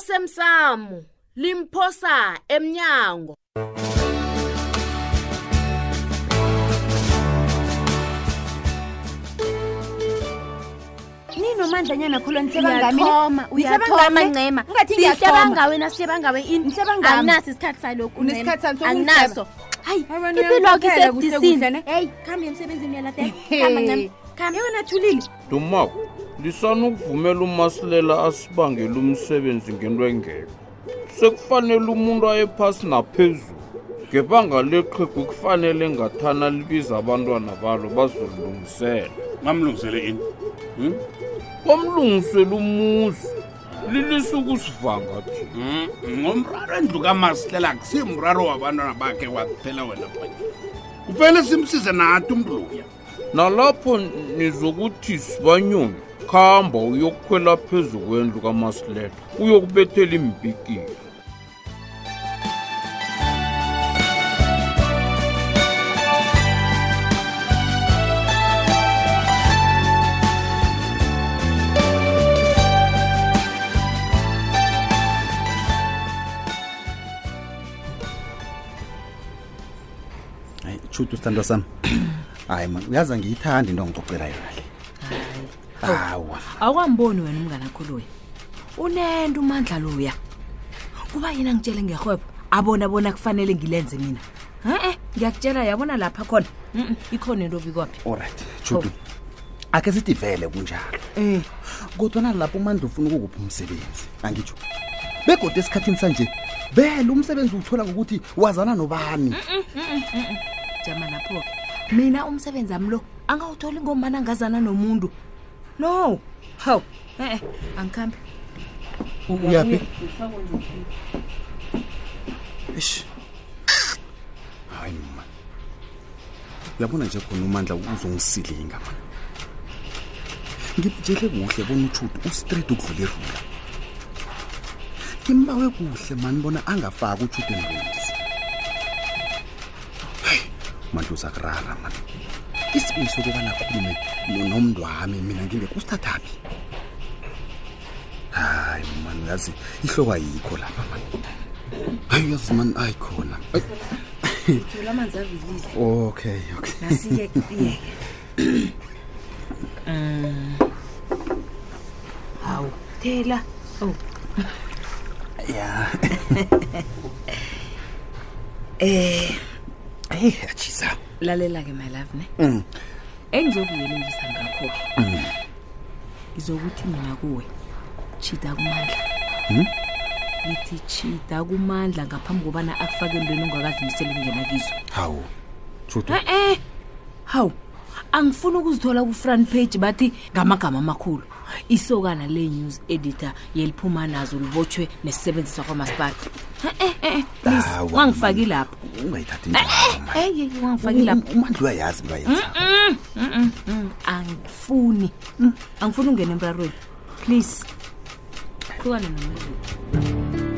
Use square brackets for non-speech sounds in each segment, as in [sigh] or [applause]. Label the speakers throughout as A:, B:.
A: osemsamo limphosa emnyango
B: ninomandlanyana khulu
C: uyathoma uyathomaancema
B: Ungathi ngiyathoma.
C: sihlebanga wena sihlebanga we ini
B: Sihlebangami.
C: anginaso isikhathi salokhu Ncema.
B: Unesikhathi salo sokuhleba.
C: anginaso hayi
B: Abantu
C: ipilo-ke
B: niyabophela kuhle kuhle,
C: isedisini
B: ne?
C: heyi khambe emsebenzini
D: [laughs]
C: uyalatela
B: Hey.
C: khamba ncema khamba
B: yona thulile
E: dumako lisanukuvumela umasilela asibangele umsebenzi ngento engekho sekufanele umuntu ayephasi naphezulu ngebanga leqhegu kufanele ngathana libiza abantwana balo bazolungisela
F: mamlungisele ini Hmm?
E: bamlungisela umuzi lilise ukusivanga thina
F: Mm, ngomraro endlu kamasihlela akusimraro wabantwana bakhe kwaphela wena bani kuphele simsize nathi umntu loya
E: nalapho nizokuthi sibanyoni khamba uyokukhwela phezu kwendlu kamasilela uyokubethela imbikile
G: hayi shuthi usithandwa sami [clears throat] hayi man uyaza ngiyithanda into ngicocela yona le awa
D: awukamboni Oh, wena umnganakho loya unento umandla loya kuba yena ngitshele ngerhwebo abona bona kufanele ngilenze mina e-e ngiyakutshela yabona lapha khona Mm, mm, ikhona into Oh. obikwaphi
G: olright shuthi akhe sithi vele kunjalo
D: Eh.
G: um kodwana lapho umandla ufuna ukukuphi umsebenzi angitsho begodwa esikhathini sanje vele umsebenzi uthola ngokuthi wazana nobani
D: jama lapho-ke mina umsebenzi wami lo angawutholi ngombana ngazana nomuntu no hawu e-e angikhambi
G: uyaphi eish hayi ma uyabona nje khona umandla uzongisilinga ma ngimtshele kuhle bona utshuti ustraight ukudlula irula ngimbawe kuhle mani bona angafaki utshuti endlwenisi mandla uzakurara mani isibili sokubana khulume no- nomntu wami mina ngingekho usithathaphi hayi mani uyazi ihloko ayikho lapha mani hayi uyazi mani ayikhona Ay,
D: thula amanzi avilile
G: okay okay
D: nasiye yeke hawu thela oh
G: ya
D: eh
G: eyi ajisa
D: lalela-ke my love ne
G: Mm.
D: engizokuyelelisa ngakho-ke ngizokuthi mina kuwe tshida kumandla
G: Mm.
D: ngithi tshida kumandla ngaphambi kobana akufake entweni ongakazimisela ukungena kizo
G: hawu judu
D: e-e hawu angifuni ukuzithola ku-front page bathi ngamagama amakhulu isokana le-news editor yeliphuma nazo libotshwe nesisebenziswa kwamasipala e-e please
G: Awa,
D: wangifaki
G: man.
D: lapho
G: ungayithathi
D: eyi wangifaki
G: Mm.
D: lapho
G: umandla uyayazi into ayenzayo
D: Mm, angifuni Mm, angifuni ungena emrarweni please hlukane nomrarweni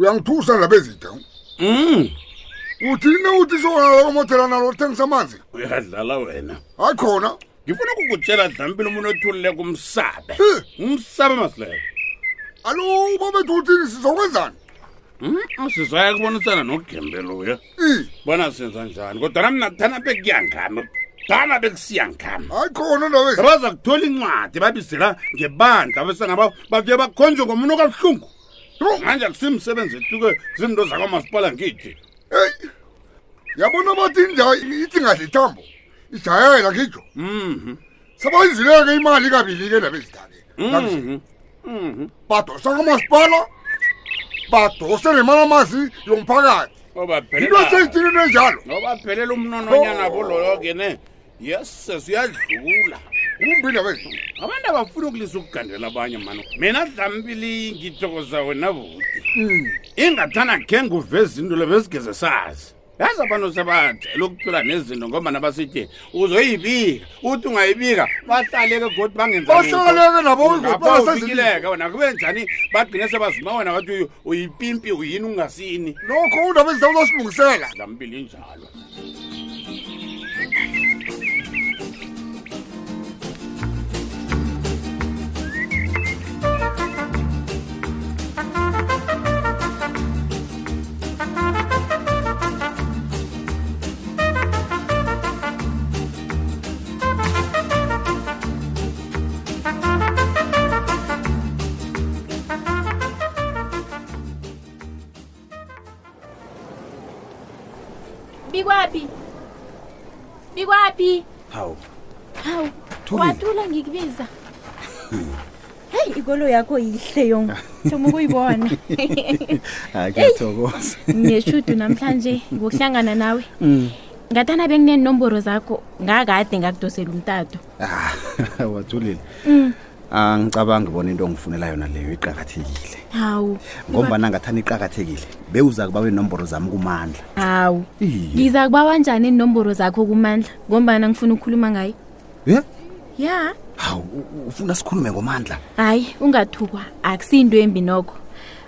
H: uyangithusa laba ezitha
F: Mm,
H: uthine uthi sokalala kwamodela nalo luthengisa amanzi
F: uyadlala wena
H: hayi khona
F: ngifuna ukukutshela dlampile umuntu othululeka umsabe
H: Eh.
F: umsabe masileyo
H: alo ubabethu uthini sizokwenzani
F: Hmm? sizaya kubonisana nogembeluya
H: i
F: bona senza njani kodwana mna kuthana bekuyangami dala bekusiya ngami
H: hayi khona ndaba ezi
F: abaza kuthola incwadi babizela ngebandla abesana babo bafike bakhonjwe ngomuntu okabuhlungu Yo, manje akusimsebenzi etuke zinto zakwamasipala ngithi
H: eyi yabona bathi inja ithi ngadla ithambo ijayela ngijo
F: Mhm,
H: sebayizileke imali kabili-ke ndaba ezithake
F: mhm, mhm.
H: badosa kamasipala badose nemali amazi yomphakathi into
F: Obaphelela-
H: seyithini nenjalo
F: obaphelela umnononyana boloyo-ke ne yeses uyadlula
I: umbila wethu
G: abantu abafuni ukulisa ukugandela abanye mani mina dlambili ngithokoza wena buti
J: Hmm.
G: ingathana khe nguveza into le besigeze sazi yazi abantu sebatshela ukuphila nezinto ngobana basithi uzoyibika uthi ungayibika bahlale-ke godi
I: Bahlale-ke nabo ukuthi
G: bangenzabafikileke wena kube njani bagcine sebazima wena wathi uyu- uyipimpi uyini ungasini
I: lokho undaba ezizawuzosilungisela
G: dlambili injalo
C: bikwaphi bikwaphi
J: hawu
C: hawu
J: Thulile.
C: watula ngikubiza heyi ikolo yakho yihle yong thoma ukuyibona
J: hayi kuyathokoza
C: ngeshudu namhlanje ngokuhlangana nawe ngathana bekuneenomboro zakho ngakade ngakudosela umtato
J: Ah, [laughs] wathulile angicabangi bona into ongifunela yona leyo iqakathekile
C: hawu
J: ngombana ngathani iqakathekile bewuza kuba wenomboro zami kumandla
C: hawu
J: iye
C: ngiza kubawa njani iinomboro zakho kumandla ngombana ngifuna ukukhuluma ngayo
J: ye
C: ya
J: hawu u- u- ufuna sikhulume ngomandla
C: hayi ungathukwa akusiyinto embi nokho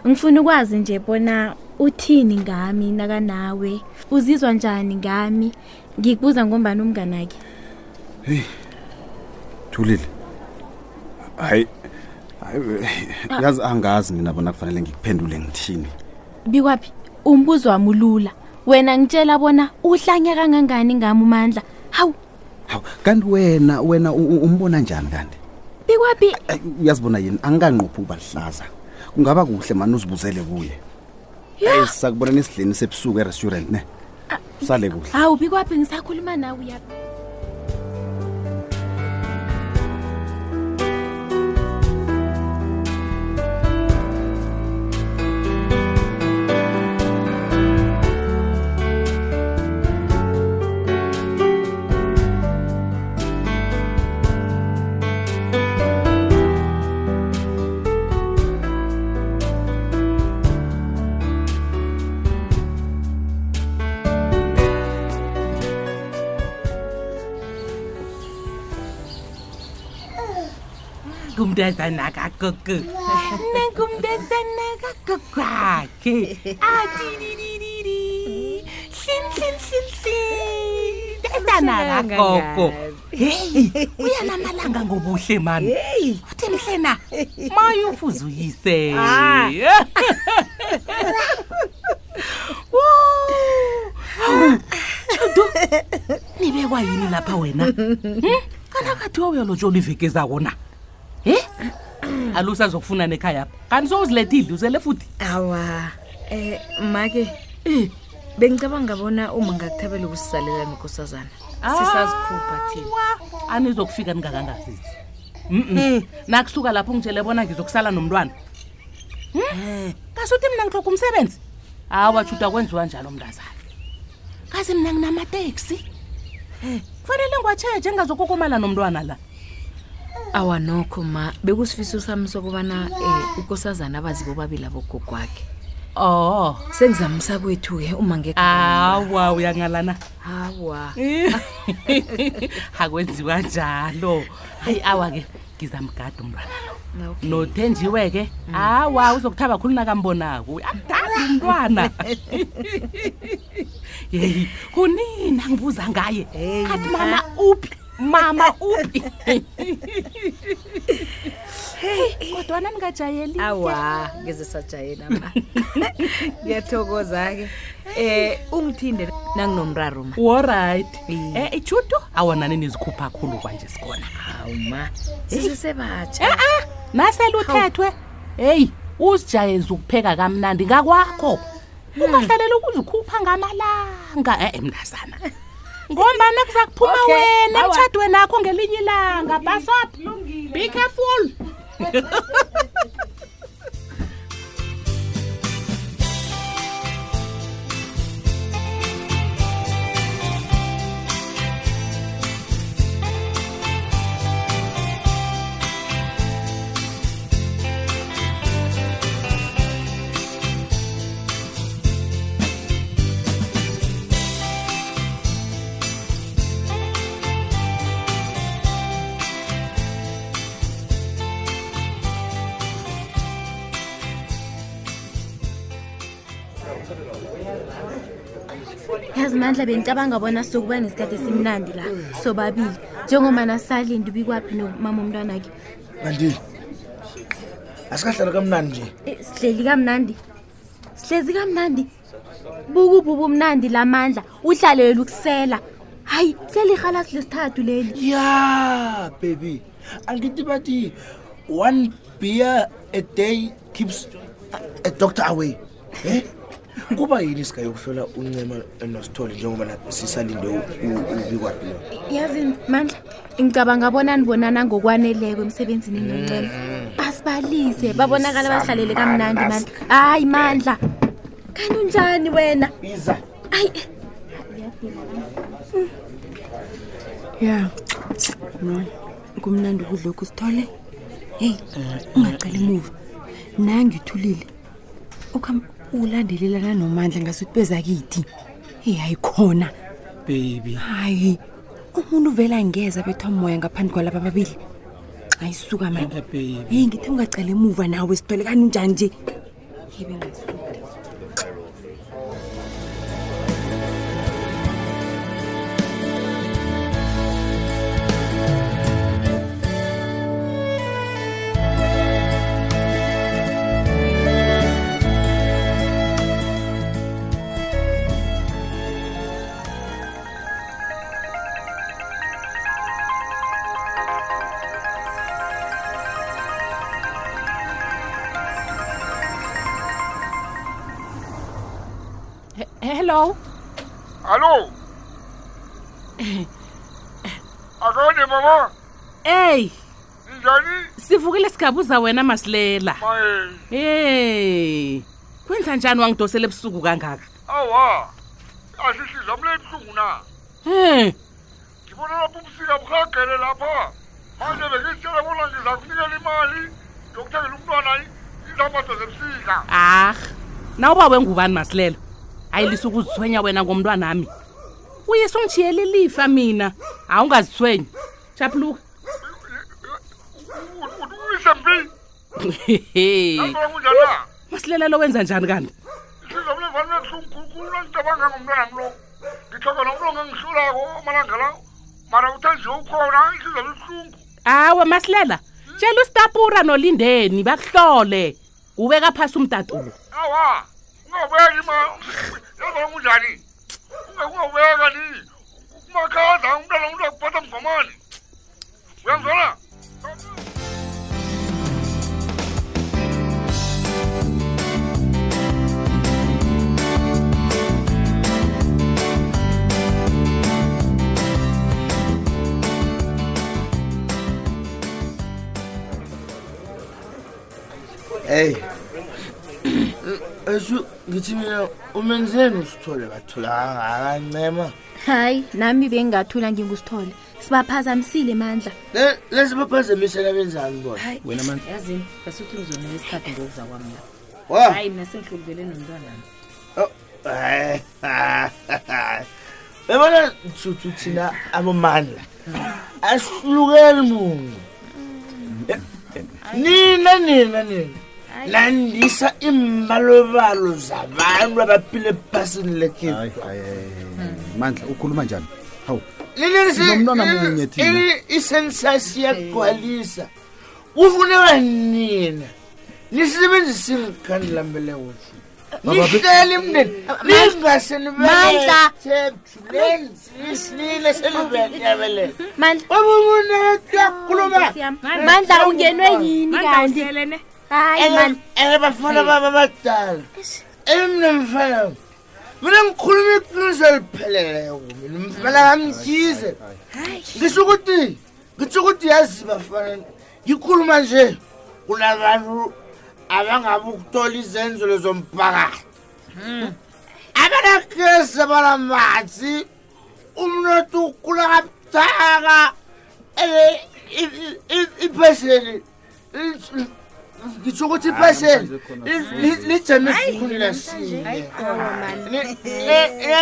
C: ngifuna ukwazi nje bona uthini ngami nakanawe uzizwa njani ngami ngikubuza ngombani umnganakhe
J: thulile hayi hayi we- yazi angazi mina bona kufanele ngikuphendule ngithini
C: bikwaphi umbuzo wami ulula wena ngitshela bona uhlanya kangangani ngami umandla hawu
J: hawu kanti wena wena u- u- umbona njani kanti
C: bikwaphi
J: Ayi, uyazibona yini angikanqophi ukuba lihlaza kungaba kuhle mani uzibuzele kuye hayi sakubona nesidleni sebusuku erestaurant ne usale kuhle
C: hawu bikwaphi ngisakhuluma nawe yapi
K: kumntazana kagogo nangumntazana kagogwakhe [laughs] atinidididi hlin hlin hlin hlin mntazana kagogo heyi uyanamalanga ngobuhle mami uthi mhlena maye ufuze uyise [laughs] Ah. Wo! Hawu, Tshudu, nibe kwayini lapha wena Hmm? kanakathiwa uyalotshola iveki ezako na he alusazokufuna Eh? nekhaya apha kanti sowuzilethile uzele futhi
D: awa eh make eh, bengicabanga bona uma ngakuthabela ukusisalela nokosazana
K: Ah.
D: sisazikhupha thina
K: Awa, anizokufika ningakangazisi mm nakusuka lapho ngitshele bona ngizokusala nomntwana Hmm? kasuthi mina ngihloka umsebenzi hawa tshuta kwenziwa njalo mntazana kazi mina nginamateksi Eh, kufanele ngiwatsheje ngingazokokomala nomntwana la
D: awa nokho ma bekusifiso sami sokubana um ukosazana abazi bobabili abogogwakhe
K: oh
D: sengizamisa kwethu-ke uma ngekho
K: awa [laughs] uyangalana
D: hawa
K: akwenziwa njalo hayi awa-ke ngizamgada umntwana lo
D: Eh,
K: nothenjiwe-ke awa uzokuthaba khulu nakambonako amdala umntwana yeyi kunini angibuza ngaye athi mama uphi mama uphi Hey, kodwana ningajayeli
D: awa ngeze sajayela ma [laughs] ngiyathokoza-ke um ungithinde nanginomraro ma
K: olright
D: Mm.
K: um ijudo awonani nizikhupha khulu kwanje sikhona
D: hawu ma sisesebatsha
B: Eh,
K: e-e nasele uthethwe heyi uzijayeze ukupheka kamnandi ngakwakho ungahlaleli ukuzikhupha ngamalanga e-e mnazana ngombana kuza kuphuma wena emtshadi wenakho ngelinye ilanga basop be careful
C: yazi mandla benicabanga bona sokuba nesikhathi esimnandi la sobabili njengomana salindi ubikwaphi nomama umntwanakhe
H: bandile asikahlale kamnani nje
C: Eh, sihleli kamnandi sihlezi kamnandi bukububu mnandi la mandla uhlaleli ukusela hayi selirhalasi lesithathu leli
H: ya baby angithi bathi one beer a day keeps a, a doctor away eh kuba yini sika yokuhlola uncema nosithole njengobana sisalinde ubikwapilo
C: yazi mandla ngicabanga bona nibonana ngokwaneleko emsebenzini noncema basibalise babonakala basihlalele kamnandi mandla hayi mandla kanti unjani wena
H: iza
C: hayi
B: ya no kumnandi ukudlokhu sithole heyi ungacela imuva nangithulile ukhamba ulandelelana nomandla ngasuthi bezakithi heyi hayi khona
H: baby
B: hayi umuntu uvele angeza bethwa moya ngaphandle kwalaba babili ayisuka mani
H: baby
B: heyi ngithi ungacela emuva nawe sithole kani unjani nje heyi bengasuka
K: He- hello
I: Hallo? Akone mama,
K: eyi
I: ninjani?
K: sivukile sigabuza wena masilela
I: Maye.
K: hey kwenza njani wangidosela ebusuku kangaka
I: Awa. Asihliza mlebhlungu na.
K: Hmm,
I: Ngibona lapho ubusika buhagele lapha. Manje bengitshela bona ngiza kunikela imali yokuthengela umntwana i- izambatho zebusika.
K: ah nawuba wengubani masilela ayilisa ukuzithwenya wena ngomntwanami uyise ungijiyela ilifa mina awungazithwenyi japhuluka
I: Uyise mbi. Ngibona kunjani na?
K: masilela lo wenza njani kanti
I: Ihliza mlevani mlebhlungu khulukhulu ngicabanga ngomntwana mlo. Ngithoka nomlungu engihlulako amalanga la. Mara uthe nje ukhona ihliza mlebhlungu.
K: hawe masilela tshela usitapura nolindeni bakuhlole ubeka phasi umtatulo
I: awa ungawubeki ma yazona kunjani ungawubeka ni umakhadla umntwana umntu akuphatha mgomani uyangizona
H: eyi esu ngithi mina umenzeni usithole bathula akancema
C: hayi nami bengingathula ngingusithole sibaphazamisile mandla
H: Le- lesi baphazamisela benzani bona wena manje
D: yazini ngasuthi ngizona isikhathi ngokuza kwami la
H: wa
D: hayi mna sengihlulubele nomntwanami
H: [laughs] bebona thuthu thina abomandla asihlukeli mungu nina nina nina landisa imbalobalo zabantu abaphile ephasini lekhefu
J: mandla ukhuluma njani hawu Sinomntwana munye thina.
H: isensus iyagcwalisa kufuneka nina nisebenzise inikhandilambeleko nihlele mndeni
C: Mandla.
H: ningasenibelenile senibeyabelela
C: mandla
H: obumunekuyakhuluma
C: mandla ungenwe yini kanti hayi mandla
H: ene bafana baba badala emna mfana mina ngikhuluma iqiniso elipheleleko mina mfana ngamthize ngisho ukuthi ngitsho ukuthi yazi bafana ngikhuluma nje kunabantu abangabe ukutola izenzelo zomphakathi abanakesi abanamatsi umnotho ukhula kabuthaka Eh, i- i- i- iphesheni i- ngitsho ukuthi iphesheni lijame esikhulu lasinye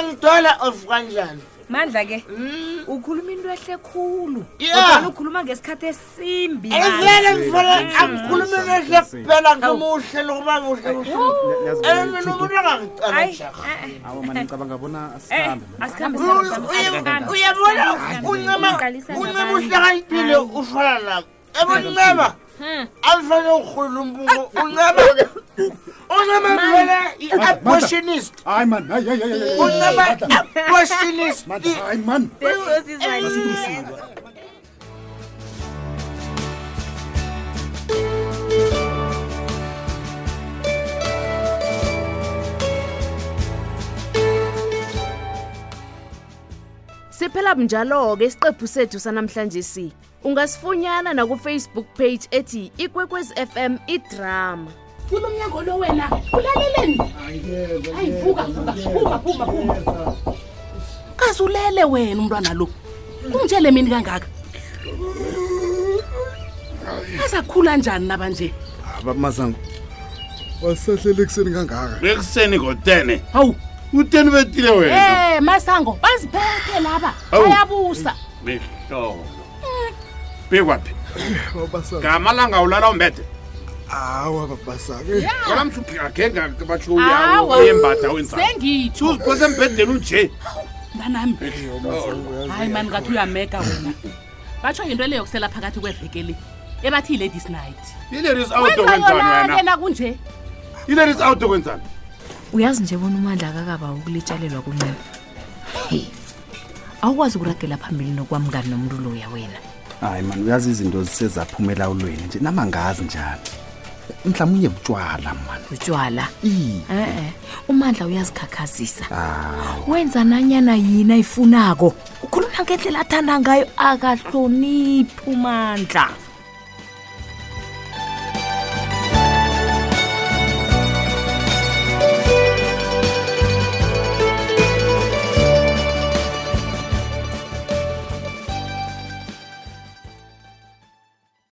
H: ngidola of kanjani
K: mandla ke
H: Mm,
B: ukhuluma into ehle khulu
H: Yeah.
B: Kodwana ukhuluma ngesikhathi esimbi
H: Angivele
B: man.
H: ngifuna angikhulumi into ehle kuphela ngimuhle lokuba muhle Eh,
J: Yazi
H: mina umuntu angangicala
B: Hayi,
H: jarha
B: eh, eh,
J: awa mani ngicabanga bona
B: eh,
J: sikhambe
B: asikhambe,
H: Uy-
B: asikhambe,
H: uye-
B: asikhambe.
H: uyabona
B: Asikhambe,
H: uncema
C: uqalisana
H: uncema
C: nabantu.
H: uhlakaniphile ufana nako yabo ncema
C: Hmm.
H: alifane urhula umbungu uncema uncema vele i-abortionist
J: hayi mani hayi hayi hayi, hayi, hayi.
H: uncema i-abortionist
J: Mani, hayi mani
A: siphela bunjalo-ke isiqephu sethu sanamhlanje si ungasifunyana nakufacebook page ethi ikwekwezi fm idrama
K: kulo mnyango lo wena ulaleleni hayi vuka vuka vuka vuka vuka kazi ulele wena umntwana lo ungitshele mini kangaka azakhula njani nabanje
J: aba mazango wasehlele ekuseni kangaka
G: bekuseni ngo-tene
K: hawu
G: uteni betile wena
K: Eh masango baziphethe laba
G: Awu.
K: bayabusa
G: mihlolo bekwaphi
J: babasa
G: ngamalanga ulala umbede
J: awa babasake
G: olamhluphikagengake batsho
K: Awa.
G: uyawuyembada wenzani
K: sengitsho
G: uziphose embhedeni unje
K: mntanami hayi mani ngathi uyameka wena batsho yinto leyo kusela phakathi kweveke le ebathi yi-ladies night
G: ileris auto
K: wenza
G: kwenzani
K: yona-ke
G: wena
K: nakunje
G: ileris auto kwenzani
D: uyazi nje bona umandla akakaba ukulitshalelwa kuncema hey awukwazi ukuragela phambili nokwamngani nomntu loya wena
J: hayi mani uyazi izinto zisezaphuma elawulweni nje nama ngazi njani mhlawumbe unye butshwala mani
D: utywala
J: i
D: e-e umandla uyazikhakhazisa
J: aw
D: wenza nanyana yini ayifunako ukhuluma ngendlela athanda ngayo akahloniphi umandla